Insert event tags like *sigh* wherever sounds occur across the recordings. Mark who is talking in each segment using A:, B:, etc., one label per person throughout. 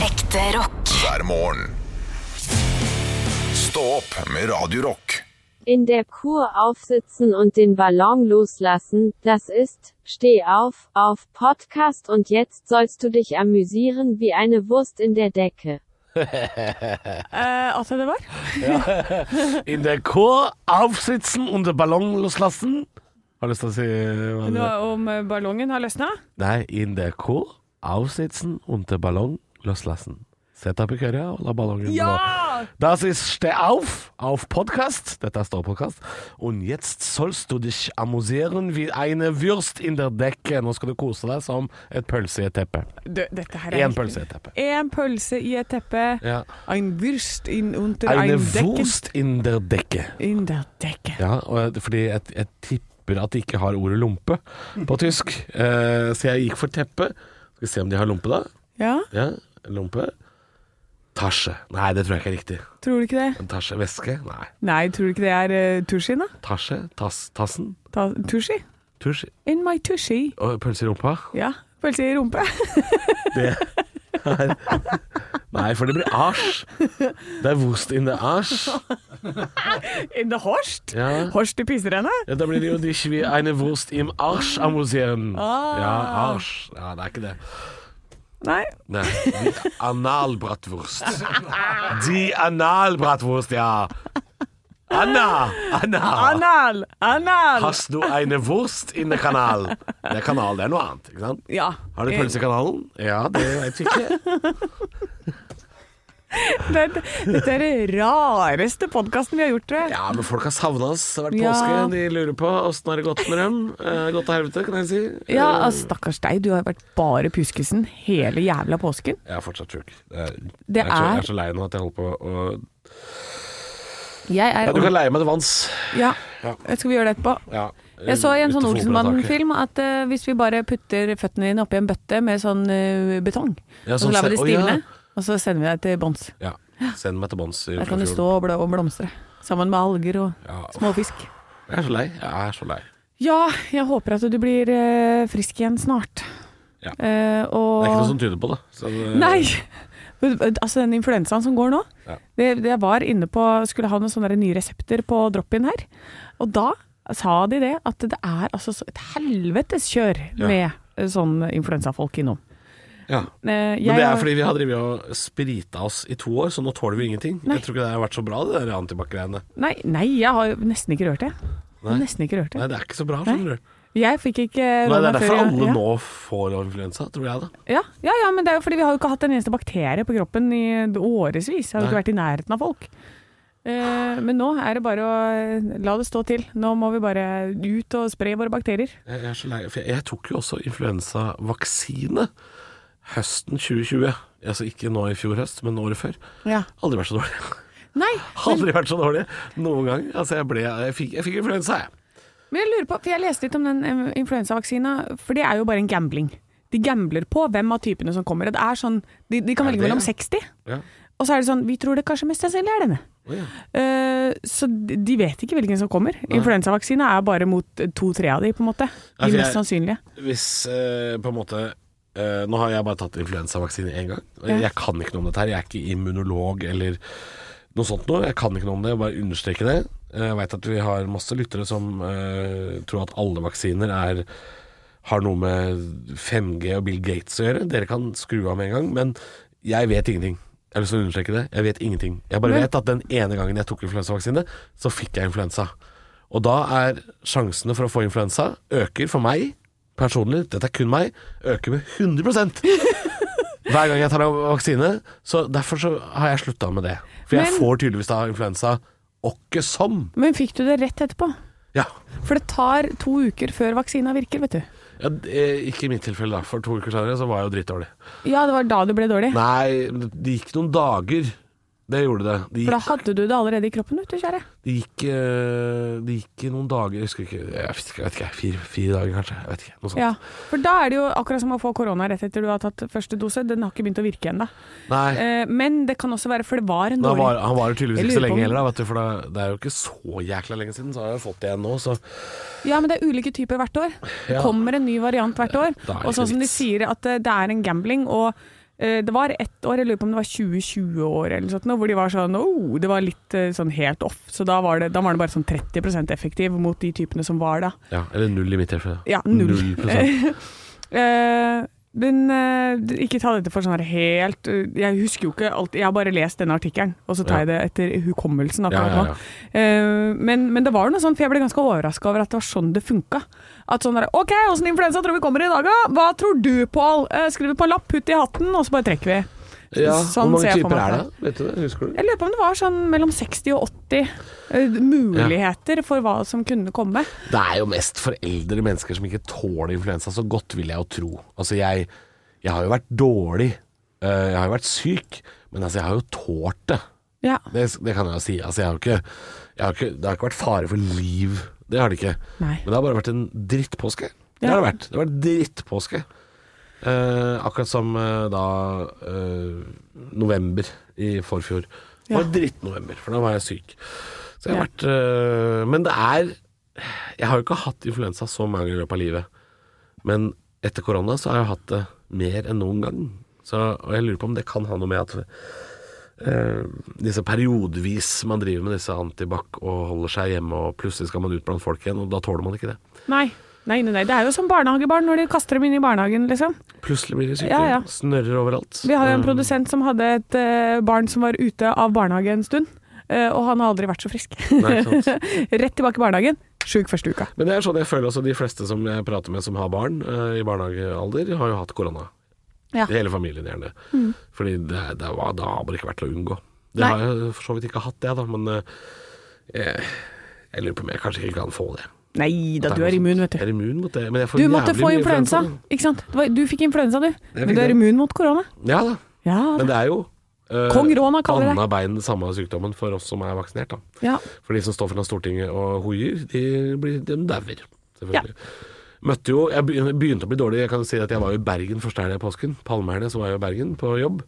A: Ekte rock.
B: hver morgen. Stå opp med Radio Rock.
C: In der Kur aufsitzen und den Ballon loslassen, das ist, steh auf, auf Podcast und jetzt sollst du dich amüsieren wie eine Wurst in der Decke.
D: Eh, altså, det var?
E: In der Kur aufsitzen und den Ballon loslassen. Har du lyst til å si hva
D: Nå,
E: det er?
D: om eh, ballongen har løsna?
E: Nei, in der Kur aufsitzen und den Ballon loslassen. Sett deg på køya og la ballongen
D: Ja!
E: Das ist Steh auf auf Podcast. Das ist der Podcast. Und jetzt sollst du dich amüsieren wie eine Würst in der Decke. Nå skal du kose deg som et pølse i et teppe.
D: Du, dette her er
E: Én
D: helt-
E: pølse i et teppe.
D: En pølse i et teppe.
E: Ja.
D: Ein Wurst Äh, in unter
E: Eine
D: ein Decken.
E: Wurst in der Decke.
D: In der Decke.
E: Ja, og jeg, fordi jeg, jeg tipper at de ikke har ordet lompe på tysk. Eh, så jeg gikk for teppe. Skal vi se om de har lompe, da.
D: Ja,
E: Ja, lompe. Tasje. Nei, det tror jeg ikke er riktig.
D: tror du ikke det?
E: En tasje. Veske? Nei.
D: Nei, tror du ikke det er uh, tusji, da?
E: Tasje. Tass, tassen.
D: Ta, tusji?
E: Tusj.
D: In my tusji.
E: Og pølse i rumpa.
D: Ja, pølse i rumpe. *laughs*
E: Det er Nei, for det blir asj. Det er Wurst in the asj.
D: In the horst.
E: Ja.
D: Horst i pisserenne.
E: Ja, da blir det jo dich wie eine Wurst im Arsch amüsieren.
D: Ah.
E: Ja, Arsch. Ja, det er ikke det.
D: Nei.
E: Nei. Analbratwurst. Die Analbratwurst, ja. Anna! Anna!
D: Anal! Anal!
E: Hast du eine Wurst in der Kanal? Det er kanal, det er noe annet. ikke sant?
D: Ja.
E: Har du pølse i kanalen? Ja, det vet vi ikke.
D: Eh, Det- Dette er den rareste podkasten vi har gjort, tror jeg.
E: Ja, men folk har savna oss. Det har vært
D: Ja.
E: påske. De lurer på åssen har det gått med dem. Eh, gått til helvete, kan jeg si. Eh,
D: Ja, altså, stakkars deg, du har vært bare pjuskesen hele jævla påsken.
E: Jeg er fortsatt sjuk. Det er,
D: Det
E: jeg, er så, jeg
D: er-
E: er så lei nå at jeg holder på å
D: Jeg er
E: ja, Du kan leie meg til vanns.
D: Ja,
E: Ja.
D: skal vi gjøre det etterpå?
E: Ja,
D: Jeg så i en sånn
E: utenfor operataket.
D: Olsenbanden-film at eh, hvis vi bare putter føttene dine oppi en bøtte med sånn eh, betong,
E: Ja,
D: og så
E: sånn
D: lar vi det
E: se- å, ja.
D: stivne, og så sender vi deg til bånns.
E: Ja. Send meg til bånns. i
D: Der kan du
E: Oslofjorden.
D: stå og, bl og blomstre, sammen med alger og
E: Ja.
D: småfisk.
E: Jeg er så lei. Jeg er så lei.
D: Ja, jeg håper at du blir eh, frisk igjen snart.
E: Ja.
D: Eh, og
E: Det er ikke noe sånn som tyder på det. Så det
D: Nei! *laughs* Men, Altså den influensaen som går nå.
E: Eh, Ja.
D: Det, det jeg var inne på, skulle ha noen sånne nye resepter på drop-in her. Og da sa de det, at det er altså så et helvetes kjør
E: Ja.
D: med eh, sånn influensafolk innom.
E: Ja.
D: Eh, jeg
E: Men det er
D: har-
E: fordi vi har drevet og sprita oss i to år, så nå tåler vi ingenting. Jeg tror ikke det har vært så bra, det der antibac-greiene.
D: Nei, nei, jeg har jo nesten ikke rørt det. Jeg har
E: Nei.
D: Nesten ikke rørt
E: Nei,
D: det.
E: det er ikke så bra, skjønner du.
D: Jeg fikk ikke
E: Nei, det
D: før
E: er derfor
D: jeg-
E: alle
D: ja.
E: nå får influensa, tror jeg da.
D: Ja, ja, ja, men det er jo fordi vi har jo ikke hatt en eneste bakterie på kroppen i årevis. Jeg har jo ikke
E: Nei.
D: vært i nærheten av folk. Eh, men nå er det bare å eh, la det stå til. Nå må vi bare ut og spre våre bakterier.
E: Jeg, jeg er så lei. For jeg, jeg tok jo også influensavaksine høsten 2020. Altså ikke nå i fjor høst, men året før.
D: Ja.
E: Aldri vært så dårlig. *laughs*
D: Nei, men,
E: Aldri vært så dårlig noen gang. Altså, jeg, ble, jeg, fikk, jeg fikk influensa, jeg.
D: men jeg lurer på, for jeg leste litt om den eh, influensavaksina, for det er jo bare en gambling. De gambler på hvem av typene som kommer. Og Det er sånn, de, de kan
E: Er
D: velge
E: det?
D: mellom 60,
E: Ja.
D: og så er det sånn Vi tror det kanskje mest sannsynlig er denne.
E: Å, ja.
D: Eh, så de de vet ikke hvilken som kommer. Influensavaksine er bare mot to-tre av de, på en måte.
E: Ja,
D: De
E: for
D: mest
E: jeg-
D: sannsynlige.
E: Hvis eh, på en måte eh, Nå har jeg bare tatt influensavaksine én gang. og Jeg kan ikke noe om dette her. Jeg er ikke immunolog eller noe sånt noe. Jeg kan ikke noe om det. Jeg bare understreker det. Eh, Jeg veit at vi har masse lyttere som eh, tror at alle vaksiner er har noe med 5G og Bill Gates å gjøre. Dere kan skru av med en gang, men jeg vet ingenting. Jeg har lyst til å understreke det. Jeg vet ingenting. Jeg bare
D: Men-
E: vet at den ene gangen jeg tok influensavaksine, så fikk jeg influensa. Og da er sjansene for å få influensa øker for meg personlig, dette er kun meg, øker med
D: *laughs*
E: 100 hver gang jeg tar av vaksine. Så derfor så har jeg slutta med det. For jeg
D: Men-
E: får tydeligvis da influensa åkke som.
D: Men fikk du det rett etterpå?
E: Ja.
D: For det tar to uker før vaksina virker, vet du.
E: ja eh, ikke i mitt tilfelle, da. For to uker senere så var jeg jo dritdårlig.
D: Ja, det var da du ble dårlig.
E: Nei, det gikk noen dager. Det gjorde det. Det
D: For da
E: gikk,
D: hadde du det allerede i kroppen, vet du, kjære.
E: det gikk, eh, det gikk i noen dager Jeg husker ikke, jeg vet ikke, jeg vet ikke fire, fire dager kanskje. Jeg vet ikke, noe sånt.
D: Ja. For da er det jo akkurat som å få korona rett etter du har tatt første dose. Den har ikke begynt å virke ennå.
E: Nei,
D: Eh, Men det kan også være For det var en
E: da
D: dårlig
E: var, han var jo tydeligvis
D: Jeg
E: ikke så
D: lurer på
E: lenge
D: om-
E: heller, da, vet du, for da, det er jo ikke så jækla lenge siden. Så har jeg fått det igjen nå, så
D: Ja, men det er ulike typer hvert år. Det
E: Ja.
D: kommer en ny variant hvert år.
E: Da er
D: Og
E: det
D: sånn
E: ikke
D: som de
E: vits.
D: sier at eh, det er en gambling, og eh, det var ett år, jeg lurer på om det var 2020 år eller sånt, nå, hvor de var sånn oh, Det var litt eh, sånn helt off. Så da var det, da var det bare sånn 30 effektiv mot de typene som var da.
E: Ja, eller null i mitt tilfelle.
D: Ja, null.
E: Null prosent.
D: Eh, men eh, d- ikke ta dette for sånn her helt eh, Jeg husker jo ikke alt Jeg har bare lest denne artikkelen, og så tar jeg det etter hukommelsen
E: Ja,
D: akkurat
E: ja, ja.
D: nå. Eh, men, men det var jo noe sånn, for jeg ble ganske overraska over at det var sånn det funka. At sånn der, OK, åssen influensa tror vi kommer i dag, da? Hva tror du, Pål? Eh, Skriver på en lapp, putt i hatten, og så bare trekker vi.
E: *laughs* Ja,
D: Sånn
E: Hvor mange
D: ser jeg for meg
E: typer er
D: at
E: det? Vet du det? Husker du?
D: Jeg lurer på om det var sånn mellom 60 og 80 eh, muligheter for hva som kunne komme.
E: Det er jo mest for eldre mennesker som ikke tåler influensa så godt, vil jeg jo tro. Altså, jeg, jeg har jo vært dårlig. eh, Jeg har jo vært syk. Men altså, jeg har jo tålt det.
D: Ja.
E: Det, det kan jeg jo si. Altså, jeg har jo ikke, jeg har ikke Det har ikke vært fare for liv. Det har det ikke.
D: Nei.
E: Men det har bare vært en drittpåske. Det
D: Ja.
E: har det vært. Det har vært drittpåske. Eh, akkurat som eh, da eh, november i forfjor. Det var
D: Ja.
E: drittnovember, for da var jeg syk. Så jeg har
D: Ja.
E: vært eh, Men det er Jeg har jo ikke hatt influensa så mange ganger i løpet av livet. Men etter korona så har jeg hatt det mer enn noen gang. Så, og jeg lurer på om det kan ha noe med at eh, disse periodevis man driver med disse antibac og holder seg hjemme, og plutselig skal man ut blant folk igjen, og da tåler man ikke det.
D: Nei. Nei, nei, nei. Det er jo som barnehagebarn når de kaster dem inn i barnehagen, liksom.
E: Plutselig blir de syke.
D: Ja, ja.
E: Snørrer overalt.
D: Vi har jo en
E: Eh,
D: produsent som hadde et eh, barn som var ute av barnehage en stund, eh, og han har aldri vært så frisk. *laughs*
E: *laughs* Nei, ikke sant.
D: Rett tilbake i barnehagen, sjuk første uka.
E: Men det er sånn jeg føler også de fleste som jeg prater med som har barn eh, i barnehagealder, har jo hatt korona.
D: Ja. Mm.
E: Hele familien gjerne. Fordi det, det, var, det har bare ikke vært til å unngå. Det
D: Nei.
E: har jeg for så vidt ikke hatt, det, da, men eh, jeg, jeg lurer på om jeg kanskje ikke kan få det.
D: Nei da,
E: At
D: du
E: det
D: er
E: noe
D: immun,
E: sånt.
D: vet
E: Jeg
D: du.
E: er immun mot det, men jeg får
D: Du måtte
E: jævlig
D: få
E: mye
D: influensa, ikke sant? Det var- Du fikk influensa, du.
E: Jeg
D: Men
E: fikk
D: du er
E: det.
D: immun mot korona.
E: Ja da,
D: Ja,
E: men
D: da.
E: det er jo eh,
D: Kong Rona kaller det.
E: anna bein samme sykdommen for oss som er vaksinert, da.
D: ja.
E: For de som står foran Stortinget og hoier, de, blir- de dauer. Selvfølgelig. Møtte jo, jeg begy- begynte å bli dårlig. Jeg kan si at jeg var jo i Bergen første helg i påsken. Palmehelg, så var jeg i Bergen på jobb.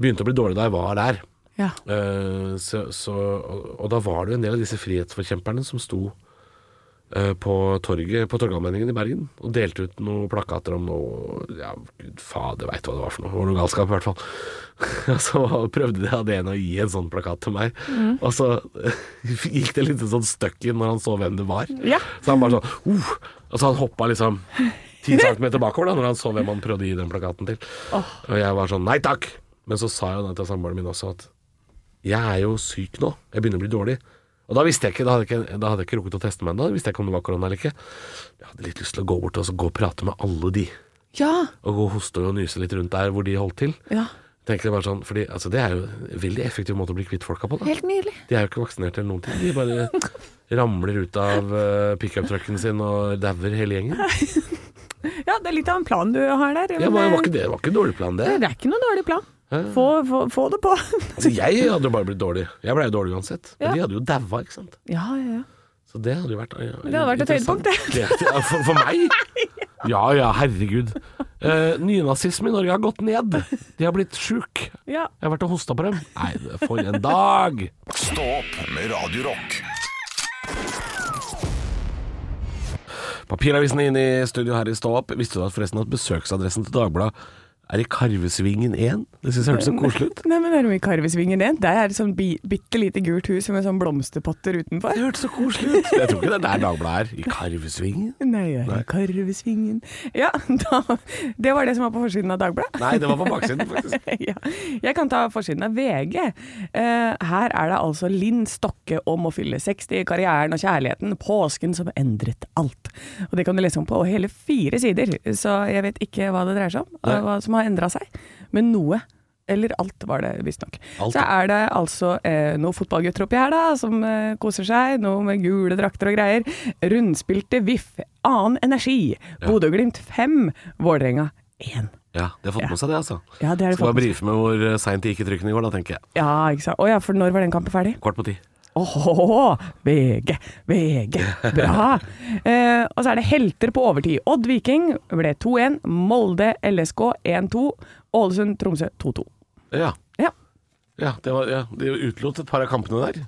E: Begynte å bli dårlig da jeg var der.
D: ja.
E: Eh, så, så, og, og da var det jo en del av disse frihetsforkjemperne som sto eh, på torget på Torgallmenningen i Bergen og delte ut noen plakater om noe Ja, gud fader veit hva det var for noe. Det var noe galskap, i hvert fall. *laughs* Og så prøvde de av det ene å gi en sånn plakat til meg, og så *laughs* gikk det litt sånn støkk i når han så hvem det var.
D: Ja.
E: Så han bare sånn uh, Og så han hoppa liksom ti centimeter bakover da Når han så hvem han prøvde å gi den plakaten til. Og jeg var sånn nei takk. Men så sa jeg jo det til samboeren min også, at jeg er jo syk nå. Jeg begynner å bli dårlig. Og da visste jeg ikke, da hadde jeg ikke, da hadde jeg ikke rukket å teste meg ennå. Visste jeg ikke om det var korona eller ikke. Jeg hadde litt lyst til å gå bort og så gå og prate med alle de.
D: ja.
E: Og gå og hoste og nyse litt rundt der hvor de holdt til.
D: ja.
E: Tenker jeg bare sånn, fordi altså, Det er jo en veldig effektiv måte å bli kvitt folka på. da
D: Helt nydelig.
E: De er jo ikke vaksinert eller noen ting. De bare ramler ut av eh, pickup-trucken sin og dauer
D: *laughs*
E: hele gjengen.
D: Ja, det er litt av en plan du har der.
E: Ja,
D: men,
E: var, var
D: eh,
E: ikke det var ikke en dårlig plan, det.
D: det er ikke noen dårlig plan.
E: Hæ?
D: Få, få, få det på. *laughs*
E: Altså, jeg hadde jo bare blitt dårlig. Jeg ble jo dårlig uansett. Men
D: Ja.
E: de hadde jo daua, ikke sant.
D: Ja, ja, ja.
E: Så det hadde jo vært ja,
D: Det hadde vært et
E: interessant.
D: høydepunkt,
E: Ja, for, for
D: *laughs*
E: meg? Ja ja, herregud. Uh, Nynazisme i Norge har gått ned. De har blitt sjuk.
D: ja.
E: Jeg har vært og hosta på dem. Nei, for en dag!
B: Stå opp med Radio Rock.
E: Papiravisen er inne i studio her i Stå opp. Visste du at forresten at besøksadressen til Dagbladet er i Karvesvingen 1? Det syns jeg hørtes så koselig ut.
D: Nei, men er du i Karvesvingen igjen? Der er det sånn bi bitte lite gult hus med sånn blomsterpotter utenfor.
E: Det hørtes så koselig ut. Jeg tror ikke det er der Dagbladet er. I Karvesvingen?
D: Nei, jeg er i Karvesvingen Ja, *laughs* da, det var det som var på forsiden av Dagbladet.
E: Nei, det var på baksiden, faktisk.
D: *laughs* ja. Jeg kan ta forsiden av VG. Eh, her er det altså Linn Stokke om å fylle 60, karrieren og kjærligheten, påsken som endret alt. Og Det kan du lese om på hele fire sider, så jeg vet ikke hva det dreier seg om,
E: Nei.
D: hva som har endra seg. Men noe. Eller alt, var det visstnok.
E: Alt,
D: Så er det altså eh, noen fotballgutter oppi her, da, som eh, koser seg. Noe med gule drakter og greier. Rundspilte VIF, annen energi. Bodø-Glimt 5, Vålerenga 1.
E: Ja, de har fått med seg det, altså.
D: Ja, det er det
E: Skal
D: fått
E: bare
D: med seg.
E: brife med hvor eh, seint de gikk i trykken i går, da, tenker jeg.
D: Ja, ikke sant. Å ja, for når var den kampen ferdig?
E: Kvart på ti.
D: Åh, VG, VG,
E: *laughs*
D: bra! Eh, og så er det helter på overtid. Odd Viking ble 2-1. Molde LSK 1-2. Ålesund Tromsø 2-2.
E: Ja.
D: Ja.
E: ja, det var, ja. De utelot et par av kampene der.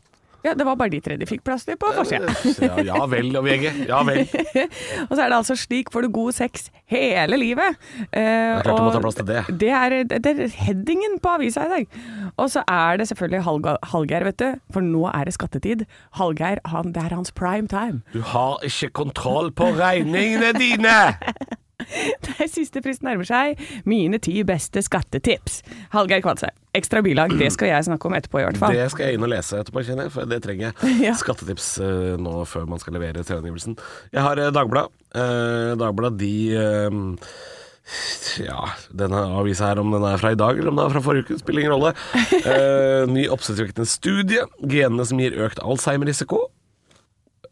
D: Ja, det var bare de tre de fikk plaster på forsida.
E: Ja, ja vel, og VG. Ja vel. Det
D: Og så er det altså slik får du god sex hele livet. Eh,
E: er klart du må
D: og
E: ta plass til det.
D: det er, det er headingen på avisa i dag. Og så er det selvfølgelig Hallga- Hallgeir, vet du. For nå er det skattetid. Hallgeir, han, det er hans prime time.
E: Du har ikke kontroll på regningene dine!
D: *laughs* Det er siste frist nærmer seg. Mine ti beste skattetips. Hallgeir Kvadsheim. Ekstra bilag, det skal jeg snakke om etterpå i hvert fall.
E: Det skal jeg inn og lese etterpå, kjenner jeg, for det trenger jeg.
D: *laughs* Ja.
E: Skattetips eh, nå før man skal levere selvangivelsen. Jeg har uh, Dagbladet. Uh, Dagbladet, de eh, ja, denne avisa her, om den er fra i dag eller om den er fra forrige uke, spiller ingen
D: *laughs*
E: rolle. Eh, ny oppsiktsvekkende studie. Genene som gir økt Alzheimer-risiko.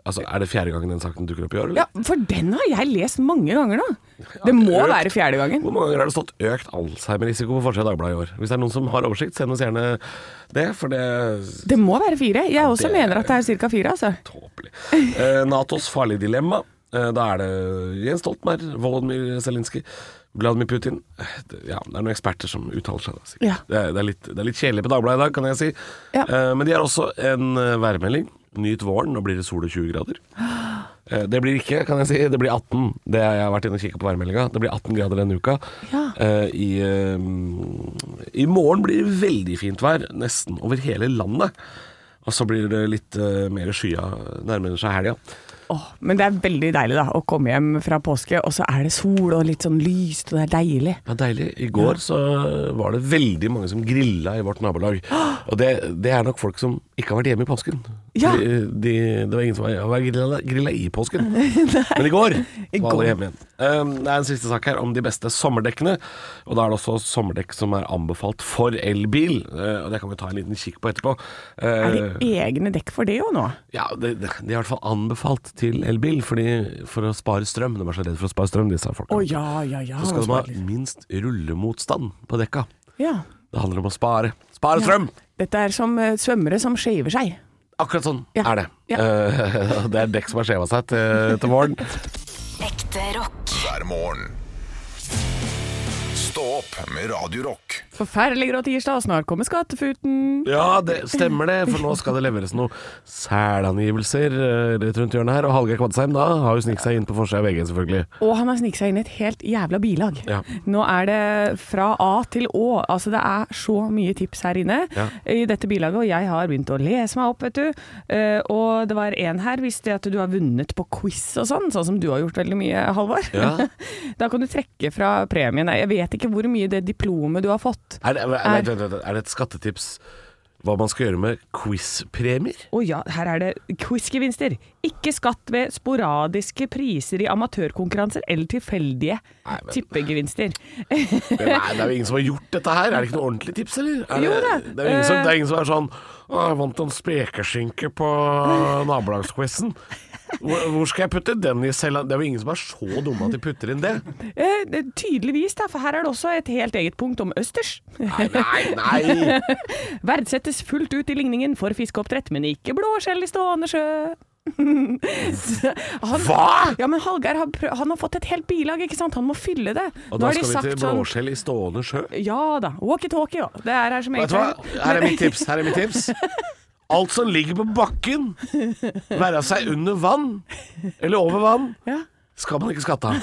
E: Altså, Er det fjerde gangen den saken dukker opp i år, eller?
D: Ja, for den har jeg lest mange ganger nå. Det må
E: økt.
D: være fjerde gangen.
E: Hvor mange ganger har det stått økt Alzheimer-risiko på forsida av Dagbladet i år? Hvis det er noen som har oversikt, send oss gjerne det, for det
D: Det må være fire. Jeg også
E: det-
D: mener at det er ca. fire, altså.
E: Tåpelig. Eh, Natos farlige dilemma. Eh, da er det Jens Stoltenberg, Volodymyr Zelinskyj, Vladimir Putin Eh, det, Ja, det er noen eksperter som uttaler seg, da. sikkert.
D: Ja.
E: Det, er, det, er litt, det er litt kjedelig på Dagbladet i dag, kan jeg si.
D: Ja.
E: Eh, men de har også en eh, værmelding. Nyt våren, nå blir det sol og 20 grader. Eh, Det blir ikke, kan jeg si. Det blir 18. Det har jeg vært inne og kikket på værmeldinga. Det blir 18 grader denne uka.
D: Ja.
E: Eh, I, eh, I morgen blir det veldig fint vær, nesten over hele landet. Og så blir det litt eh, mer skya nærmere seg helga.
D: Åh, men det er veldig deilig da, å komme hjem fra påske, og så er det sol og litt sånn lyst, og det er deilig.
E: Ja, deilig. I går så var det veldig mange som grilla i vårt nabolag. Og det, det er nok folk som ikke har vært hjemme i påsken.
D: Ja.
E: Fordi de, det var ingen som var, var grilla, grilla i
D: *laughs*
E: påsken. Men i går
D: I går.
E: var alle hjemme igjen. Um, det er en siste sak her om de beste sommerdekkene. Og da er det også sommerdekk som er anbefalt for elbil. Uh, og det kan vi ta en liten kikk på etterpå. Uh,
D: Er det egne dekk for det jo nå?
E: ja, det, det, det er i hvert fall anbefalt til elbil fordi, for å spare strøm. De var så redd for å spare strøm, disse folka.
D: Å ja, Ah, ja, ja.
E: Så skal de ha minst rullemotstand på dekka.
D: Ja.
E: Det handler om å spare. Spare strøm!
D: Dette er som eh, svømmere som skjever seg.
E: Akkurat sånn
D: Ja.
E: er det.
D: Ja.
E: Eh, *laughs* det er dekk som har skjeva seg til, til våren.
A: Ekte rock.
B: hver morgen. Stå opp med Radio Rock.
D: Forferdelig grå tirsdag, og snart kommer skattefuten.
E: Ja, det stemmer det, for nå skal det leveres noen sælangivelser eh, rett rundt hjørnet her. Og Hallgeir Kvadsheim da har jo snikt seg inn på forsida av VG, selvfølgelig.
D: Og han har sniket seg inn i et helt jævla bilag.
E: Ja.
D: Nå er det fra A til Å. Altså det er så mye tips her inne
E: Ja.
D: i dette bilaget, og jeg har begynt å lese meg opp, vet du. Eh, og det var en her, hvis det at du har vunnet på quiz og sånn, sånn som du har gjort veldig mye, Halvor.
E: Ja.
D: *laughs* da kan du trekke fra premien. Nei, Jeg vet ikke hvor mye det diplomet du har fått.
E: Er det, vent, vent, vent, er det et skattetips hva man skal gjøre med quiz-premier?
D: Å ja, her er det quizgevinster. Ikke skatt ved sporadiske priser i amatørkonkurranser eller tilfeldige
E: men-
D: tippegevinster.
E: Men Nei, det er jo ingen som har gjort dette her. Er det ikke noe ordentlig tips, eller? Er
D: Jo da. Eh.
E: Det, det, er jo ingen som, det er ingen som er sånn Å, jeg vant en spekeskinke på nabolagsquizen. Hvor, hvor skal jeg putte den i cella? Det er jo ingen som er så dumme at de putter inn det.
D: Eh, det- tydeligvis, da, for her er det også et helt eget punkt om østers.
E: Nei, nei, nei.
D: Verdsettes fullt ut i ligningen for fiskeoppdrett, men ikke blåskjell i stående sjø. han,
E: Hva?!
D: Ja, men Hallgeir har, prøv- han har fått et helt bilag, ikke sant? Han må fylle det.
E: Og
D: Nå
E: da
D: har de
E: skal vi til
D: sagt sånn-
E: blåskjell i stående sjø.
D: Ja da. Walkietalkie, ja. Det er her som
E: Vet du hva? Her er mitt tips. Her er mitt tips. Alt som ligger på bakken, være seg under vann eller over vann,
D: Ja. *laughs*
E: skal man ikke skatte av.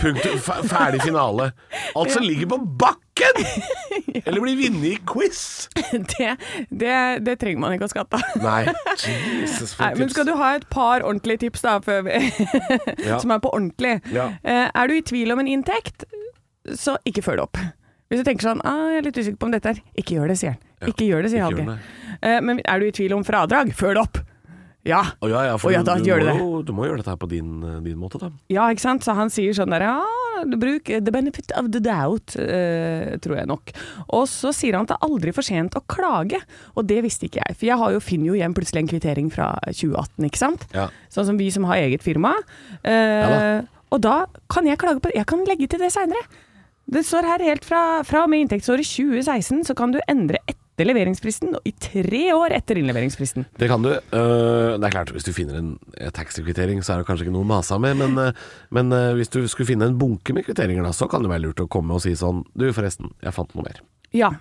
E: Punktum. Fe- Ferdig finale. Alt som ligger på bakken! Eller blir vunnet i quiz.
D: Det, det, det trenger man ikke å skatte av.
E: Nei, Jesus for
D: Nei,
E: et
D: men
E: tips.
D: skal du ha et par ordentlige tips, da, før vi
E: Ja.
D: som er på ordentlig.
E: Ja.
D: Eh, er du i tvil om en inntekt, så ikke følg det opp. Hvis du tenker sånn ah, 'jeg er litt usikker på om dette her', ikke gjør det, sier han. Ikke gjør det, sier
E: ikke gjør
D: Hallgeir. Eh, men er du i tvil om fradrag, følg det opp! Ja.
E: Å ja, ja, for
D: Å ja, da
E: du,
D: gjør
E: du,
D: du
E: må
D: det.
E: jo, du må gjøre dette her på din, eh, din måte, da.
D: ja, ikke sant? Så han sier sånn der ja, du bruk the benefit of the doubt, eh, tror jeg nok. Og så sier han at det er aldri for sent å klage, og det visste ikke jeg. For jeg har jo, finner jo igjen plutselig en kvittering fra 2018, ikke sant.
E: Ja.
D: Sånn som vi som har eget firma. Eh,
E: Ja
D: og da kan jeg klage på Jeg kan legge til det seinere. Det står her helt fra, fra og med inntektsåret 2016 så kan du endre etter leveringsfristen, og i tre år etter innleveringsfristen.
E: Det kan du. Eh, det er klart, Hvis du finner en eh, taxikvittering, så er det kanskje ikke noe å mase med. Men, eh, men eh, hvis du skulle finne en bunke med kvitteringer, da, så kan det være lurt å komme og si sånn Du, forresten, jeg fant noe mer.
D: Ja.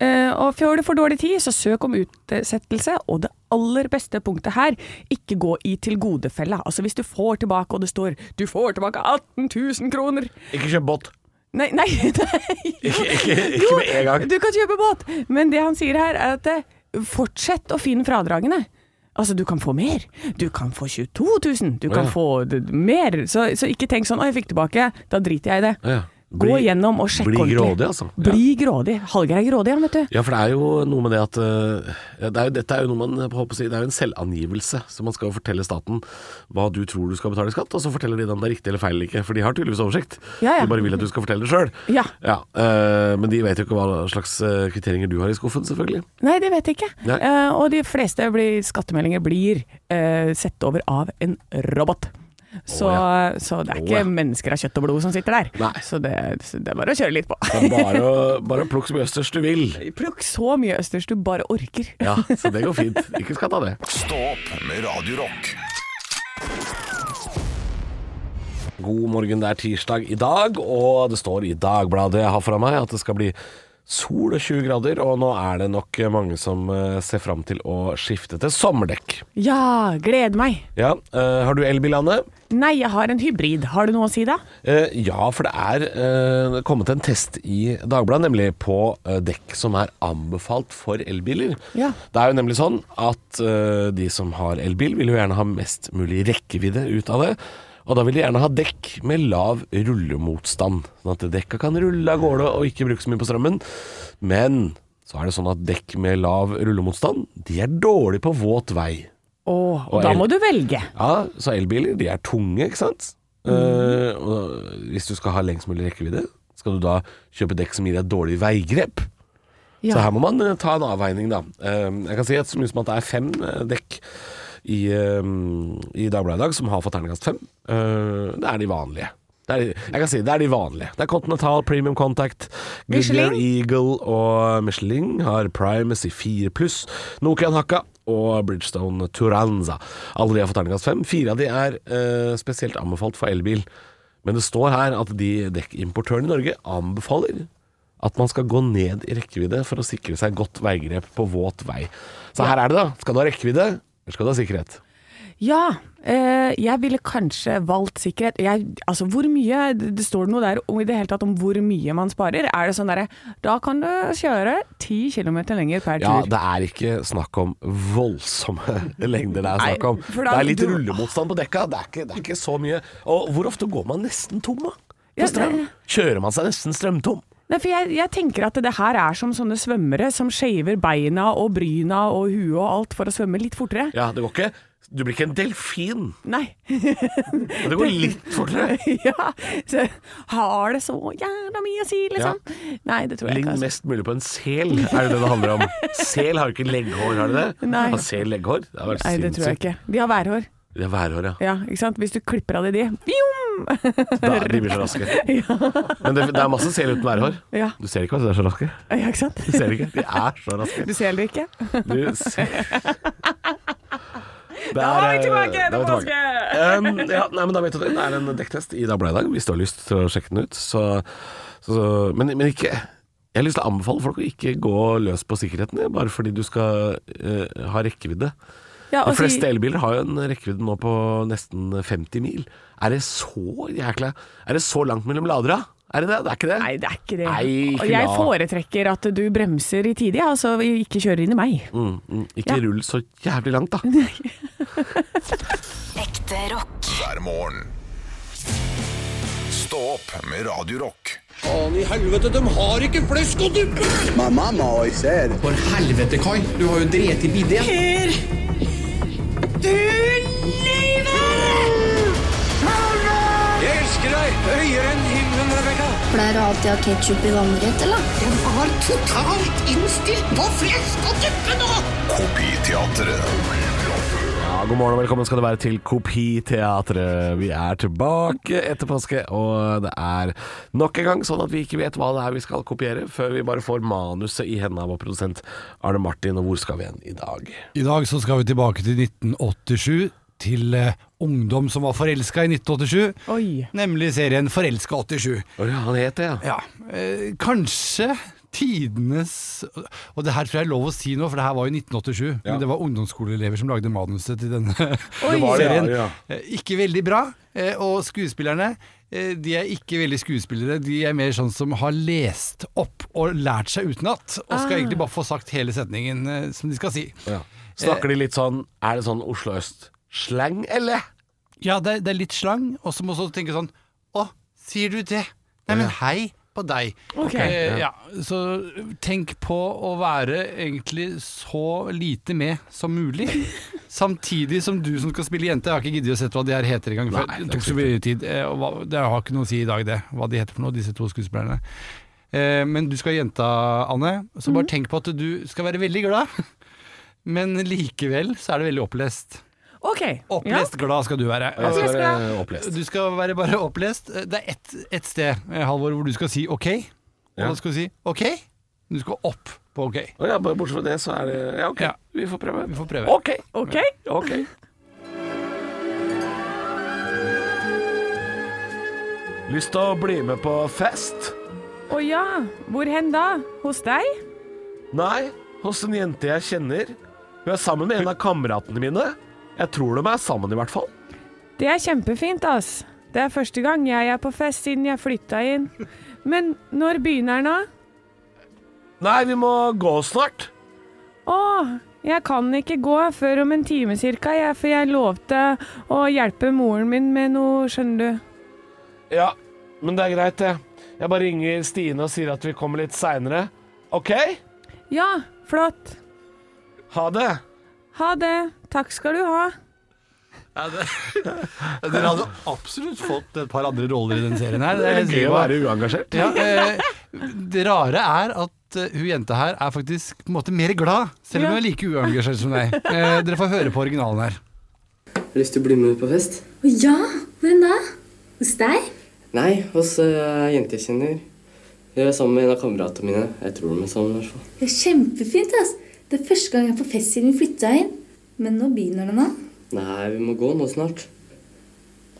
D: Eh, og får du for dårlig tid, så søk om utsettelse. Og det aller beste punktet her, ikke gå i tilgodefella. Altså hvis du får tilbake, og det står 'du får tilbake 18 000 kroner',
E: Ikke kjøp båt.
D: Nei, *laughs* nei, nei.
E: Ikke, ikke, *laughs* ikke med en gang.
D: Du kan kjøpe båt, men det han sier her er at eh, fortsett å finne fradragene. Altså, du kan få mer. Du kan få 22 000. Du kan
E: Ja.
D: få d- d- mer. Så, så ikke tenk sånn 'Å, jeg fikk tilbake'. Da driter jeg i det.
E: Ja.
D: Gå
E: Bli-
D: gjennom og sjekk
E: bli
D: ordentlig.
E: grådig, altså. Ja.
D: Bli grådig. Hallgeir er grådig, han, vet du.
E: Ja, for det er jo noe med det at eh, ja, det er jo, Dette er jo noe man jeg håper å si, Det er jo en selvangivelse. Så man skal jo fortelle staten hva du tror du skal betale i skatt, og så forteller de deg om det er riktig eller feil eller ikke. For de har tydeligvis oversikt.
D: Ja, ja.
E: De bare vil at du skal fortelle det sjøl.
D: Ja.
E: eh, men de vet jo ikke hva slags eh, kvitteringer du har i skuffen, selvfølgelig.
D: Nei, det vet jeg ikke.
E: Nei.
D: Eh, og de fleste blir, skattemeldinger blir eh, sett over av en robot. Så,
E: Å,
D: så det er
E: Å,
D: ikke
E: ja.
D: mennesker av kjøtt og blod som sitter der.
E: Nei.
D: Så det, så det er bare å kjøre litt på.
E: Det er bare å, bare å plukke så mye østers du vil.
D: Plukk så mye østers du bare orker.
E: Ja, så det går fint. Ikke skatt av det.
B: Stå opp med Radio Rock.
E: God morgen, det er tirsdag i dag, og det står i Dagbladet jeg har fra meg at det skal bli sol og 20 grader, og nå er det nok mange som eh, ser fram til å skifte til sommerdekk.
D: Ja, gleder meg.
E: Ja, eh, har du elbil, Anne?
D: Nei, jeg har en hybrid. Har du noe å si da?
E: Eh, ja, for det er eh, kommet en test i Dagbladet, nemlig på eh, dekk som er anbefalt for elbiler.
D: Ja.
E: Det er jo nemlig sånn at eh, de som har elbil, vil jo gjerne ha mest mulig rekkevidde ut av det. Og da vil de gjerne ha dekk med lav rullemotstand, sånn at dekka kan rulle av gårde og ikke bruke så mye på strømmen. Men så er det sånn at dekk med lav rullemotstand, de er dårlig på våt vei.
D: Åh,
E: Og
D: og da
E: el-
D: må du velge.
E: Ja, så elbiler, de er tunge, ikke sant? Eh, og hvis du skal ha lengst mulig rekkevidde, skal du da kjøpe dekk som gir deg dårlig veigrep.
D: Ja.
E: Så her må man eh, ta en avveining, da. Eh, jeg kan si at så mye som at det er fem eh, dekk i, eh, i Dagbladet i dag som har fått terningkast fem. Eh, det er de vanlige. Det er, de- jeg kan si det er de vanlige. Det er Continental, Premium Contact, Goodyear
D: Michelin.
E: Eagle og Michelin har Primacy 4 pluss, Nokian Hakka og Bridgestone Turanza. Alle de har fått terningkast fem. Fire av de er eh, spesielt anbefalt for elbil. Men det står her at de dekkimportørene i Norge anbefaler at man skal gå ned i rekkevidde for å sikre seg godt veigrep på våt vei. Så her er det, da. Skal du ha rekkevidde, eller skal du ha sikkerhet?
D: Ja, eh, jeg ville kanskje valgt sikkerhet. Jeg, altså hvor mye, det det står noe der om, i det hele tatt om hvor mye man sparer. Er det sånn derre, da kan du kjøre 10 km lenger per
E: Ja,
D: tur.
E: det er ikke snakk om voldsomme *laughs* lengder det er
D: Nei,
E: snakk om.
D: for
E: det
D: da-
E: er litt
D: du-
E: rullemotstand på dekka, det er, ikke, det er ikke så mye. Og hvor ofte går man nesten tom, da?
D: Ja,
E: På strøm?
D: det-
E: Kjører man seg nesten strømtom?
D: Nei, for jeg, jeg tenker at det her er som sånne svømmere som skjever beina og bryna og huet og alt for å svømme litt fortere.
E: Ja, det går ikke. Du blir ikke en delfin,
D: Nei.
E: men det går litt fortere.
D: *laughs* ja, så har det så jævla mye å si, liksom. Nei, det tror jeg
E: Lign
D: ikke. altså.
E: mest mulig på en sel, er det det det handler om. Sel har jo ikke legghår, har det det?
D: Nei.
E: Har sel legghår? Det har
D: altså.
E: vært
D: Nei, det tror jeg
E: sinnssykt.
D: ikke. De har værhår.
E: Det er værhår, ja.
D: Ja, ikke sant? Hvis du klipper av de de Fjom!
E: Da, de blir så raske.
D: *laughs*
E: Men det, det er masse sel uten værhår.
D: Ja.
E: Du ser ikke at de er så raske.
D: Ja, ikke sant?
E: Du ser ikke. De er så raske.
D: Du ser det ikke?
E: Du
D: *laughs*
E: ser eh, Da
D: var vi tilbake, det var
E: Um, ja, nei, men da vet du det. Det er en dekktest i Dagbladet i dag, hvis du har lyst til å sjekke den ut. Så, så, så, men, men ikke Jeg har lyst til å anbefale folk å ikke gå løs på sikkerheten, ja, bare fordi du skal eh, ha rekkevidde.
D: Ja,
E: De
D: og si-
E: fleste elbiler har jo en rekkevidde nå på nesten 50 mil. Er det så jækla Er det så langt mellom ladere? Er det det? Det er ikke det?
D: Nei, det er ikke det.
E: Nei, ikke
D: og jeg
E: la-
D: foretrekker at du bremser i tide, ja, så vi ikke kjører inn i meg.
E: Mm, mm, ikke
D: Ja.
E: rull så jævlig langt, *laughs* da.
A: Ekte rock.
B: hver morgen. Stå opp med Radio Rock.
F: Faen i helvete, de har ikke flesk og duppe!
G: Mamma må i ser.
F: For helvete, Kai. Du har jo drept i biddet. Jeg elsker deg høyere enn himmelen, Rebekka.
H: Pleier du alltid å ha ketsjup i vannrett, eller?
F: De var totalt innstilt på flesk og duppe nå!
B: Kopiteatret.
E: Ja, god morgen og velkommen skal det være til Kopiteatret. Vi er tilbake etter påske, og det er nok en gang sånn at vi ikke vet hva det er vi skal kopiere, før vi bare får manuset i hendene av vår produsent Arne Martin. Og hvor skal vi hen i dag?
I: I dag så skal vi tilbake til 1987, til eh, ungdom som var forelska i 1987.
D: Oi.
I: Nemlig serien Forelska 87.
E: Å ja, han het det, ja.
I: Ja, eh, kanskje tidenes Og det her tror jeg er lov å si nå, for det her var jo 1987.
E: Ja.
I: Men det var ungdomsskoleelever som lagde manuset til denne *laughs*
E: Det var det, ja,
I: serien.
E: ja.
I: Eh, Ikke veldig bra. eh, Og skuespillerne eh, de er ikke veldig skuespillere. De er mer sånn som har lest opp og lært seg utenat. Og skal egentlig bare få sagt hele setningen eh, som de skal si.
E: Ja. Snakker de litt sånn Er det sånn Oslo Øst-slang, eller?
I: Ja, det, er- det er litt slang, og så må du også tenke sånn Å, sier du det? Nei, men hei på deg.
D: Ok.
I: Eh, ja. Så tenk på å være egentlig så lite med som
D: *laughs*
I: mulig. Samtidig som du som skal spille jente, jeg har ikke giddet å sett hva de her heter engang. før.
E: Nei, det er
I: Det tok
E: ikke
I: så mye tid. eh, Og hva, det har ikke noe å si i dag, det. Hva de heter for noe, disse to skuespillerne. Eh, men du skal ha jenta, Anne. Så
D: Mhm.
I: bare tenk på at du skal være veldig glad. *laughs* Men likevel så er det veldig opplest.
D: Ok. Ja.
I: Opplest glad skal du være.
E: Ja, så
D: jeg
E: er det
D: skal-
E: opplest.
I: Du skal være bare opplest. Det er ett et sted, eh, Halvor, hvor du skal si OK. Og
E: Ja.
I: da skal du si OK. Du skal opp på OK.
E: Å ja, bare bortsett fra det, så er det Ja, ok.
I: Ja.
E: Vi får prøve.
I: Vi får prøve.
E: Ok.
D: Ok.
E: ok. Lyst til å bli med på fest?
D: Å ja, hvor hen da? Hos deg?
E: Nei, hos en jente jeg kjenner. Hun er sammen med en av kameratene mine. Jeg tror de er sammen, i hvert fall.
D: Det er kjempefint, ass. Det er første gang jeg er på fest siden jeg flytta inn. Men når begynner den, da?
E: Nei, vi må gå snart.
D: Å, jeg kan ikke gå før om en time cirka, jeg, for jeg lovte å hjelpe moren min med noe, skjønner du.
E: Ja, men det er greit, det. Jeg bare ringer Stine og sier at vi kommer litt seinere. OK?
D: Ja, flott.
E: Ha det.
D: Ha det. Takk skal du ha.
I: Dere hadde absolutt fått et par andre roller i den serien her.
E: Det er
I: jeg
E: gøy
I: sier
E: å
I: bare.
E: være uengasjert.
I: Ja, eh, det rare er at eh, hun jenta her er faktisk på en måte mer glad, selv om
D: Ja.
I: hun er like uengasjert som deg. Eh, dere får høre på originalen her.
J: Har lyst til å bli med på fest?
H: Å ja, hvem da? Hos deg?
J: Nei, hos uh, jenter jeg kjenner. Hun er sammen med en av kameratene mine. Jeg tror de er sammen, i hvert fall.
H: Det er kjempefint, ass. Det er første gang jeg er på fest siden vi flytta inn. Men nå begynner det nå.
J: Nei, vi må gå nå snart.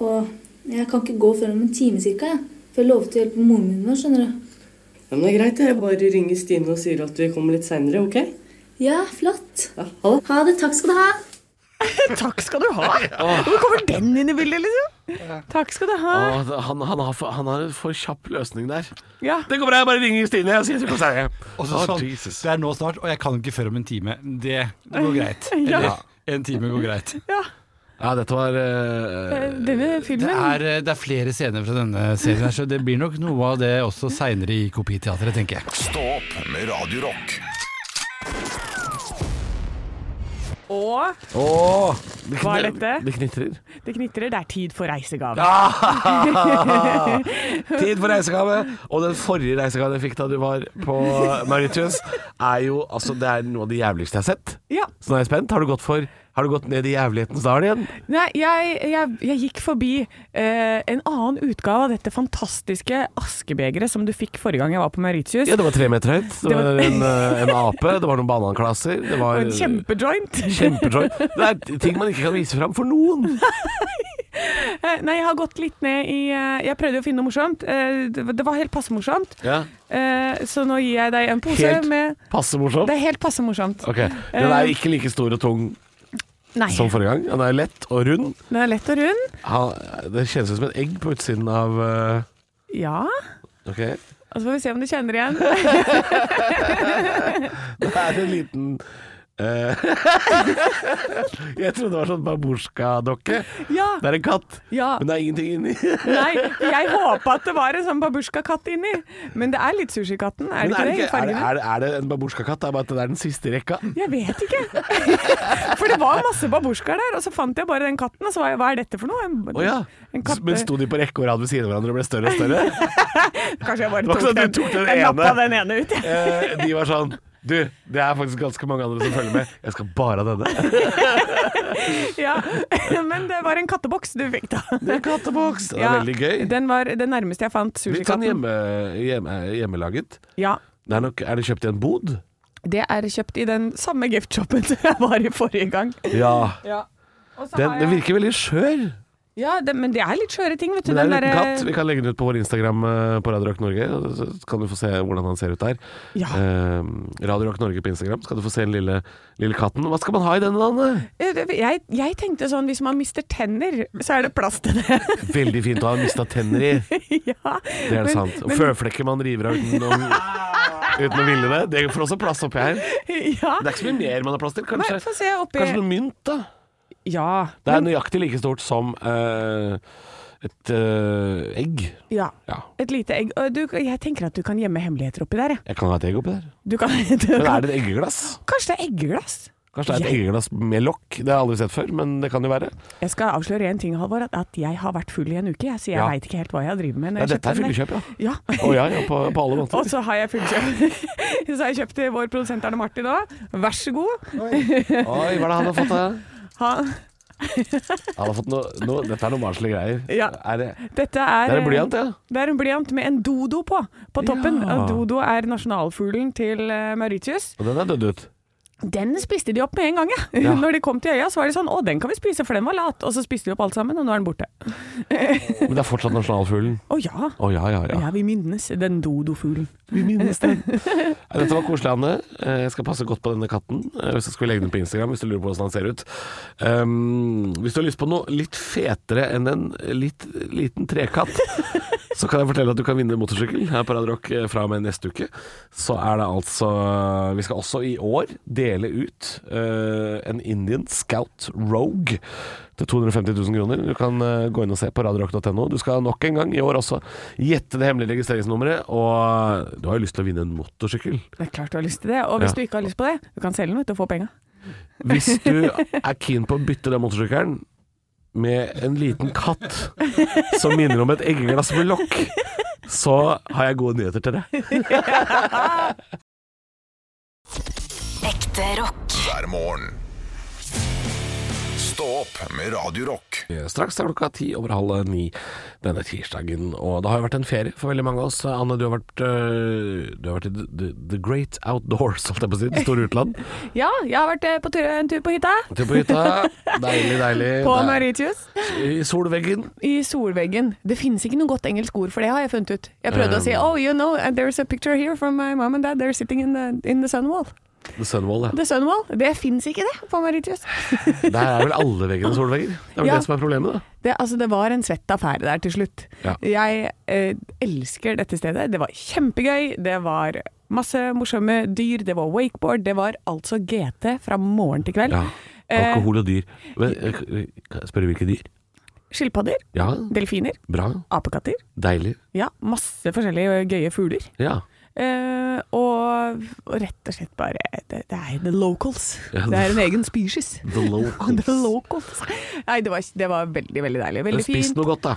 H: Og jeg kan ikke gå før om en time cirka, jeg. For jeg lovte å hjelpe moren min nå, skjønner du.
J: Ja, men det er greit, jeg bare ringer Stine og sier at vi kommer litt seinere, OK?
H: Ja, flott.
J: Ja, ha det.
H: Ha det. Takk skal du ha.
D: Takk skal du
I: *laughs*
D: ha. Hvor kommer den inn i bildet, liksom? Takk skal du ha.
E: han, han, har for, han har en for kjapp løsning der.
D: Ja.
E: Det går bra, jeg bare ringer Stine og sier at vi kommer seinere.
I: Og så sånn, det er nå snart, og jeg kan ikke før om en time. Det, det
D: *laughs*
I: går greit.
D: Ja.
I: Eller, en time går greit.
D: ja.
E: Ja, dette var eh,
D: Eh, Denne
I: Det
D: filmen
I: er, eh, det er flere scener fra denne serien her, så det blir nok noe av det også seinere i Kopiteatret, tenker jeg.
B: Stå opp med Radio Rock.
D: Og
E: Åh, det
D: Hva er
E: kni-
D: dette?
E: Det knitrer.
D: det knitrer, det er tid for reisegave.
E: Ah! Tid for reisegave. Og den forrige reisegaven jeg fikk da du var på Mauritius, er jo altså Det er noe av det jævligste jeg har sett.
D: Ja.
E: Så nå er jeg spent. Har du gått for Har du gått ned i jævlighetens dal igjen?
D: Nei, jeg, jeg, jeg gikk forbi eh, en annen utgave av dette fantastiske askebegeret som du fikk forrige gang jeg var på Mauritius.
E: Ja, det var tre meter høyt. Det
D: Det
E: var
D: var-
E: en, eh, en ape, det var noen bananklasser, det var
D: Og en kjempejoint.
E: kjempejoint. Det er ting man ikke kan vise fram for noen.
D: Eh, *laughs* Nei, jeg har gått litt ned i eh, Jeg prøvde å finne noe morsomt. Eh, Det var- det var helt passe morsomt.
E: Ja.
D: Eh, Så nå gir jeg deg en pose
E: Helt
D: med
E: Passe morsomt.
D: Det er helt passe morsomt.
E: Ok, sånn Den er ikke like stor og tung
D: Nei.
E: som forrige gang. Den er lett og rund.
D: Den er lett og rund.
E: Han, det kjennes ut som et egg på utsiden av eh,
D: Ja.
E: *laughs* Ok.
D: Og så får vi se om du kjenner igjen. *laughs*
E: Det er en liten eh, *laughs* Jeg trodde det var sånn babusjka-dokke.
D: Ja.
E: Det er en katt,
D: ja.
E: men det er ingenting inni. *laughs*
D: Nei, jeg håpa at det var en sånn babusjka-katt inni. Men det er litt sushikatten, er det
E: Men
D: ikke det? i
E: er, det,
D: fargene?
E: er, det, er det en babusjka-katt? Det er bare at det er den siste i rekka.
D: Jeg vet ikke. *laughs* For det var masse babusjkaer der, og så fant jeg bare den katten. Og så var jeg, hva er dette for noe? En,
E: Å ja.
D: en katte.
E: Men sto de på rekke og rad ved siden av hverandre og ble større og større?
D: *laughs*
E: *laughs*
D: Kanskje jeg bare
E: Det var
D: tok,
E: ikke sånn at
D: den,
E: du tok den
D: jeg
E: ene.
D: nappa den ene ut, jeg. *laughs*
E: Eh, de var sånn Du, det er faktisk ganske mange andre som følger med. Jeg skal bare ha denne.
D: Ja, *laughs* men det var en katteboks du fikk da.
E: Det er katteboks. Det er
D: Ja,
E: veldig gøy.
D: Den var det nærmeste jeg fant
E: Litt sånn
D: sushikatten.
E: hjemme, hjemme, hjemmelaget.
D: Ja,
E: Det er, nok, er det kjøpt i en bod?
D: det er kjøpt i den samme *laughs* giftshoppen som jeg var i forrige gang.
E: Ja.
D: Ja. Og så
E: Den,
D: har
E: den
D: jeg,
E: virker veldig skjør.
D: Ja, det, men det er litt skjøre ting, vet du.
E: Men det er en
D: den
E: liten
D: derre-
E: katt. Vi kan legge den ut på vår Instagram eh, på Radio Rock Norge. og Så kan du få se hvordan han ser ut der.
D: Ja.
E: Eh, Radio Rock Norge på Instagram skal du få se den lille, lille katten. Hva skal man ha i den, Anne?
D: Eh, det- Jeg, jeg tenkte sånn, hvis man mister tenner, så er det plass til det. *laughs*
E: Veldig fint å ha mista tenner i.
D: ja.
E: Det er
D: men,
E: sant. Og
D: men-
E: Føflekker man river av uten å, uten å ville det. Det får også plass oppi her. Det
D: *laughs* Ja.
E: er ikke så mye mer man har plass til.
D: Nei, få
E: Kanskje,
D: se oppi
E: kanskje noe mynt, da.
D: Ja.
E: Det er
D: men-
E: nøyaktig like stort som eh, et eh, egg.
D: ja.
E: Ja.
D: Et lite egg. Og Du, jeg tenker at du kan gjemme hemmeligheter oppi der, jeg.
E: Jeg kan ha et egg oppi der.
D: Du kan, *laughs* du
E: Men
D: kan
E: er det et eggeglass?
D: Kanskje det er eggeglass?
E: Kanskje det er et
D: Jeg-
E: eggeglass med lokk? Det har jeg aldri sett før, men det kan jo være.
D: Jeg skal avsløre en ting, Halvor. At, at jeg har vært full i en uke. Jeg, så jeg
E: Ja.
D: veit ikke helt hva jeg driver med. når
E: Ja,
D: jeg
E: dette er
D: kjøpte den
E: fyllekjøp, ja.
D: der. Ja. *laughs*
E: Å ja, ja, på, på alle måter.
D: Og så har jeg fullkjøpt. *laughs* så har jeg kjøpt til vår produsent Arne Martin òg. Vær så god.
E: Oi, hva er det han har fått? da?
D: Han,
E: Han har fått noe, noe Dette er noen barnslige greier.
D: Ja.
E: Er det,
D: dette er,
E: det er en blyant, ja.
D: Det er en blyant med en dodo på, på toppen.
E: Ja.
D: Og dodo er nasjonalfuglen til eh, Mauritius.
E: Og den er dødd ut.
D: Den spiste de opp med en gang, ja. *laughs*
E: Ja.
D: Når de kom til øya, så var de sånn Å, den kan vi spise, for den var lat. Og så spiste de opp alt sammen, og nå er den borte.
E: Men det er fortsatt nasjonalfuglen.
D: Å ja.
E: Å ja, ja, ja.
D: Ja, vi minnes den dodofuglen.
E: Vi minnes den. Nei, Dette var koselig, Anne. Eh, Jeg skal passe godt på denne katten. Eh, Så skal vi legge den på Instagram hvis du lurer på hvordan han ser ut. Um, hvis du har lyst på noe litt fetere enn en litt, liten trekatt, så kan jeg fortelle at du kan vinne motorsykkel her på Radio Rock eh, fra og med neste uke. Så er det altså Vi skal også i år dele ut eh, en Indian Scout Rogue til 250 000 kroner. Du kan eh, gå inn og se på radiorock.no. Du skal nok en gang i år også gjette det hemmelige registreringsnummeret, og du har jo lyst til å vinne en motorsykkel.
D: Det er klart du har lyst til det. Og hvis
E: Ja.
D: du ikke har lyst på det, du kan selge den vet du, og få penga.
E: Hvis du er keen på å bytte den motorsykkelen med en liten katt som minner om et eggeglass med lokk, så har jeg gode nyheter til deg.
A: Ekte rock.
B: hver morgen. Stå opp med Radio Rock.
E: Straks er klokka ti over halv ni denne tirsdagen. Og det har jo vært en ferie for veldig mange av oss. Anne, du har vært, øh, du har vært i the, the, the great outdoors, holdt jeg på å si. Det store utland.
D: Ja, jeg har vært eh, på tur, en tur på hytta.
E: Tur på hytta. Deilig, deilig.
D: På
E: Det er-
D: Mauritius.
E: I solveggen.
D: I solveggen. Det finnes ikke noe godt engelsk ord for det, har jeg funnet ut. Jeg prøvde å
E: Eh.
D: si Oh, you know, and there's a picture here from my mom and dad. They're sitting in the, in the sunwall.
E: The Sunwall, ja.
D: The sunwall. Det fins ikke, det, på Mauritius.
E: Der er vel alle veggene solvegger. Det er vel
D: Ja.
E: det som er problemet, da.
D: Det, altså, det var en svett affære der til slutt.
E: Ja.
D: Jeg eh, elsker dette stedet. Det var kjempegøy. Det var masse morsomme dyr. Det var wakeboard. Det var altså GT fra morgen til kveld.
E: Ja.
D: Eh,
E: Alkohol og dyr. Men, eh, kan jeg spørre hvilke dyr?
D: Skilpadder.
E: Ja,
D: Delfiner.
E: bra.
D: Apekatter.
E: Deilig.
D: Ja, masse forskjellige gøye fugler.
E: Ja.
D: Eh, og, og rett og slett bare Det, det er the locals.
E: Ja,
D: Det er en egen species. *laughs*
E: The *laughs* locals.
D: The locals. Nei, det var, det var veldig, veldig deilig.
E: Men
D: Veldig
E: spis
D: fint.
E: noe godt, da.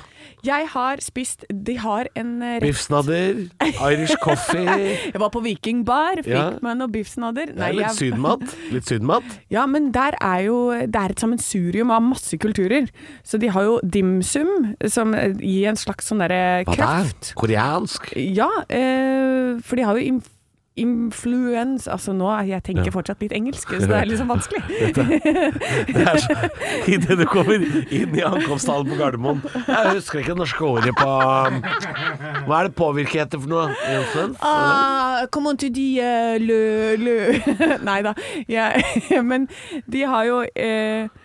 D: Jeg har spist De har en eh, rett
E: Biffsnadder, Irish coffee.
D: *laughs* Jeg var på vikingbar, fikk
E: Ja.
D: meg noen biffsnadder.
E: Det er litt
D: jeg-
E: sydmat. Litt sydmat.
D: *laughs* Ja, men der er jo Det er et sammensurium av masse kulturer. Så de har jo dimsum, som eh, gir en slags sånn derre
E: Hva det er?
D: kraft.
E: Koreansk.
D: Ja, eh, for de har jo inf influens Altså nå, jeg tenker fortsatt litt
E: *laughs*
D: engelsk, så det er liksom vanskelig.
E: Det er så, *laughs* I det du kommer inn i ankomsthallen på Gardermoen Jeg husker ikke det norske ordet på um, Hva er det påvirke heter for noe? Influens?
D: Ah, comment tu dis eh, le, le. *laughs* Nei da. Jeg- men de har jo eh,
E: Ja, det er-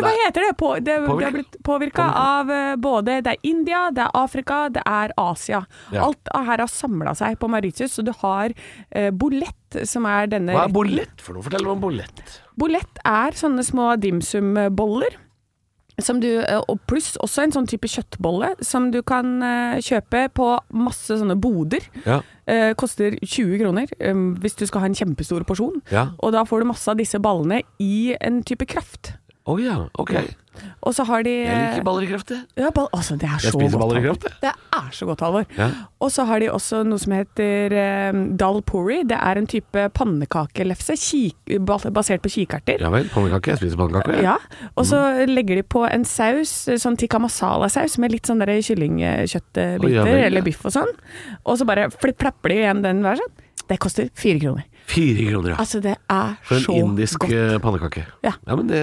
D: Herregud, hva
E: det er-
D: heter det? På, det, det har
E: Påvirka.
D: blitt påvirka av eh, både Det er India, det er Afrika, det er Asia.
E: Ja.
D: Alt av her har samla seg på Mauritius, så du har eh, bolett, som er denne
E: Hva er
D: retten.
E: bolett for noe? Fortell meg om bolett.
D: Bolett er sånne små dimsumboller. Som du, eh, og pluss også en sånn type kjøttbolle som du kan eh, kjøpe på masse sånne boder.
E: Ja.
D: Eh, koster 20 kroner eh, hvis du skal ha en kjempestor porsjon.
E: Ja.
D: Og da får du masse av disse ballene i en type kraft.
E: Å ja, ok. Jeg
D: Og så har de
E: liker baller i kraft, jeg.
D: ja, ball, altså, det er
E: Jeg
D: så
E: spiser
D: godt,
E: baller i
D: Halvor.
E: kraft, jeg.
D: Det er så godt, Halvor.
E: Ja.
D: Og så har de også noe som heter eh, dal puri. Det er en type pannekakelefse kik- bas- basert på kikerter.
E: Ja vel, pannekake. Jeg spiser pannekake. jeg.
D: Ja, og så legger de på en saus, sånn tikka masala-saus med litt sånn der
E: Å, ja
D: kyllingkjøttbiter
E: vel, ja.
D: eller biff og sånn. Og så bare flipp- flapper de igjen den hver sånn. Det koster fire kroner.
E: Fire kroner, ja.
D: Altså, det er
E: For en
D: så
E: indisk
D: godt.
E: eh, pannekake.
D: Ja.
E: men det,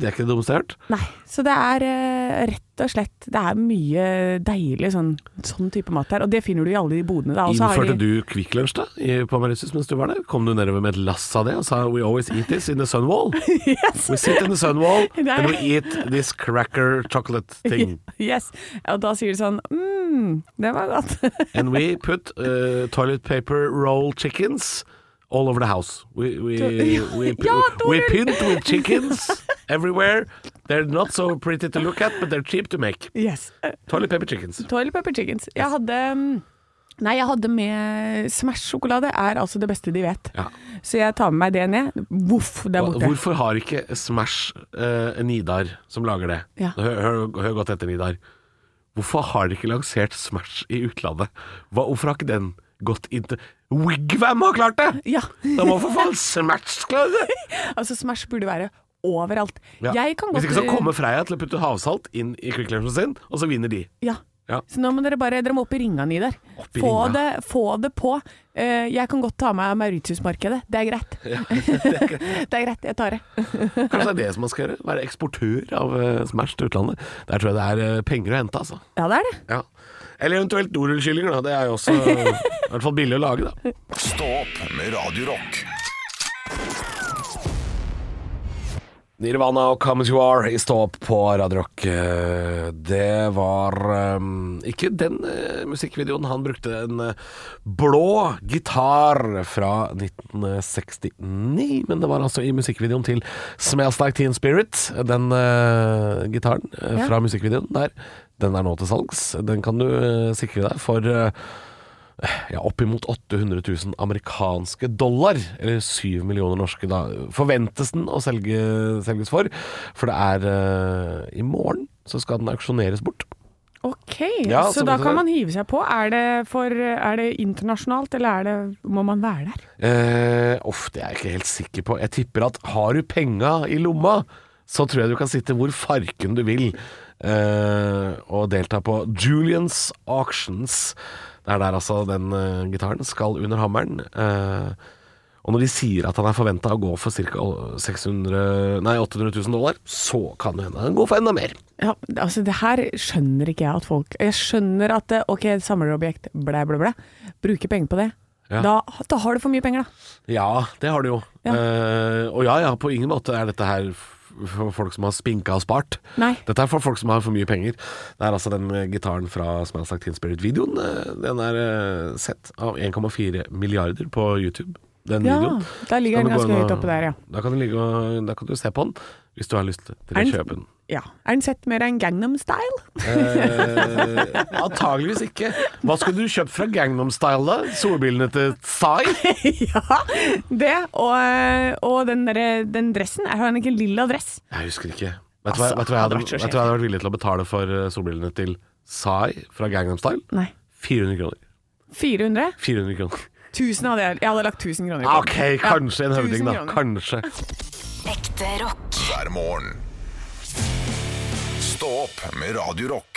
E: det er ikke det dummeste jeg har hørt.
D: Nei. Så det er eh, rett og slett Det er mye deilig sånn, sånn type mat her. Og det finner du i alle de bodene. Da. Og så har
E: Innførte
D: de- *laughs*
E: du Kvikk Lunsj da, i- på Mauritius mens du var der? Kom du nedover med et lass av det og sa 'We always eat this in the sun wall'?
D: *laughs*
E: We sit in the sun wall and we eat this cracker chocolate thing.
D: Yes. Og da sier de sånn mm, det var godt. *laughs*
E: And we put uh, toilet paper roll chickens all over the house. We, we, we,
D: *laughs* Ja,
E: we
D: Toril!
E: pint with chickens everywhere. They're not so pretty to look at, but they're cheap to make.
D: yes.
E: Toilet paper chickens.
D: Toilet pepper chickens. Jeg hadde mm, Nei, jeg hadde med Smash-sjokolade. Er altså det beste de vet.
E: Ja.
D: Så jeg tar med meg det ned. Voff, det er
E: Hva-
D: borte.
E: Hvorfor har ikke Smash eh, Nidar som lager det?
D: Ja.
E: Hør, hør, hør godt etter, Nidar. Hvorfor har de ikke lansert Smash i utlandet? Hva, hvorfor har ikke den gått inn til Wigvam har klart det!
D: Ja.
E: Da må for faen Smash klare det!
D: Altså, Smash burde være overalt.
E: Ja.
D: Jeg kan
E: Hvis
D: godt
E: ikke så kommer Freia til å putte havsalt inn i Quick Lunchen sin, og så vinner de.
D: Ja.
E: Ja.
D: Så nå må dere bare Dere må opp i ringa, Nidar.
E: i
D: Få
E: ringa.
D: det, få det på. Eh, jeg kan godt ta meg Mauritius-markedet. Det er greit. *laughs*
E: *laughs*
D: det er greit, jeg tar det.
E: Kanskje det er det som man skal gjøre? Være eksportør av eh, Smash til utlandet. Der tror jeg det er eh, penger å hente, altså.
D: Ja, det er det.
E: Ja. Eller eventuelt dorullkyllinger, da. Det er jo også eh, i hvert fall billig å lage, da.
B: Stå opp med Radio Rock.
E: Nirvana og Come As You Are i Stå opp på Radio Rock. Eh, Det var eh, ikke den eh, musikkvideoen. Han brukte en eh, blå gitar fra 1969, men det var altså i musikkvideoen til Smells Like Teen Spirit. Den eh, gitaren eh,
D: Ja.
E: fra musikkvideoen der, den er nå til salgs. Den kan du eh, sikre deg for eh, ja, oppimot 800 000 amerikanske dollar, eller 7 millioner norske, da, forventes den å selge, selges for. For det er eh, i morgen så skal den auksjoneres bort.
D: Ok,
E: Ja,
D: så
E: så
D: da
E: vet du
D: kan
E: det.
D: man hive seg på. Er det, for, er det internasjonalt, eller er det, må man være der?
E: Eh, uff, det er jeg ikke helt sikker på. Jeg tipper at har du penga i lomma, så tror jeg du kan sitte hvor farken du vil eh, og delta på Julians Auctions. Det er der altså den eh, gitaren skal under hammeren. Eh, og når de sier at han er forventa å gå for ca. 800 000 dollar, så kan det hende han går for enda mer.
D: Ja, altså det her skjønner ikke jeg at folk Jeg skjønner at eh, ok, samlerobjekt, blæ, blæ, blæ. Bruker penger på det.
E: Ja.
D: Da, da har du for mye penger, da.
E: Ja, det har du jo.
D: Ja.
E: Eh, og ja, ja, på ingen måte er dette her f- for folk som har spinka og spart.
D: Nei.
E: Dette er for folk som har for mye penger. Det er altså den eh, gitaren fra Smells Like Teen Spirit-videoen. eh, Den er eh, sett av 1,4 milliarder på YouTube. Den
D: Ja,
E: videoen.
D: da ligger
E: Så kan
D: den
E: du gå
D: ganske
E: inn og-
D: høyt oppe der, ja.
E: Da kan, du ligge og, da kan du se på den hvis du har lyst til å
D: Er den-
E: kjøpe
D: *laughs*
E: den.
D: Ja. Er den sett mer enn Gangnam Style? *laughs*
E: Eh, antageligvis ikke. Hva skulle du kjøpt fra Gangnam Style, da? Solbrillene til Psy?
D: ja, det. Og, eh, og den, derre- den dressen, er han ikke en lilla dress?
E: Jeg husker ikke. Vet du hva,
D: Altså,
E: vet du hva jeg hadde,
D: hadde vært så
E: vet du hva jeg hadde vært villig til å betale for eh, solbrillene til Psy fra Gangnam Style?
D: Nei.
E: 400 kroner.
D: 400?
E: 400 kroner.
D: 1000 hadde jeg Jeg hadde lagt 1000 kroner. på
E: Ah, Ok,
D: den. Ja,
E: kanskje en
D: 1000
E: høvding, da.
D: kroner.
E: Kanskje.
A: Ekte rock.
B: hver morgen. Stå opp med Radio Rock.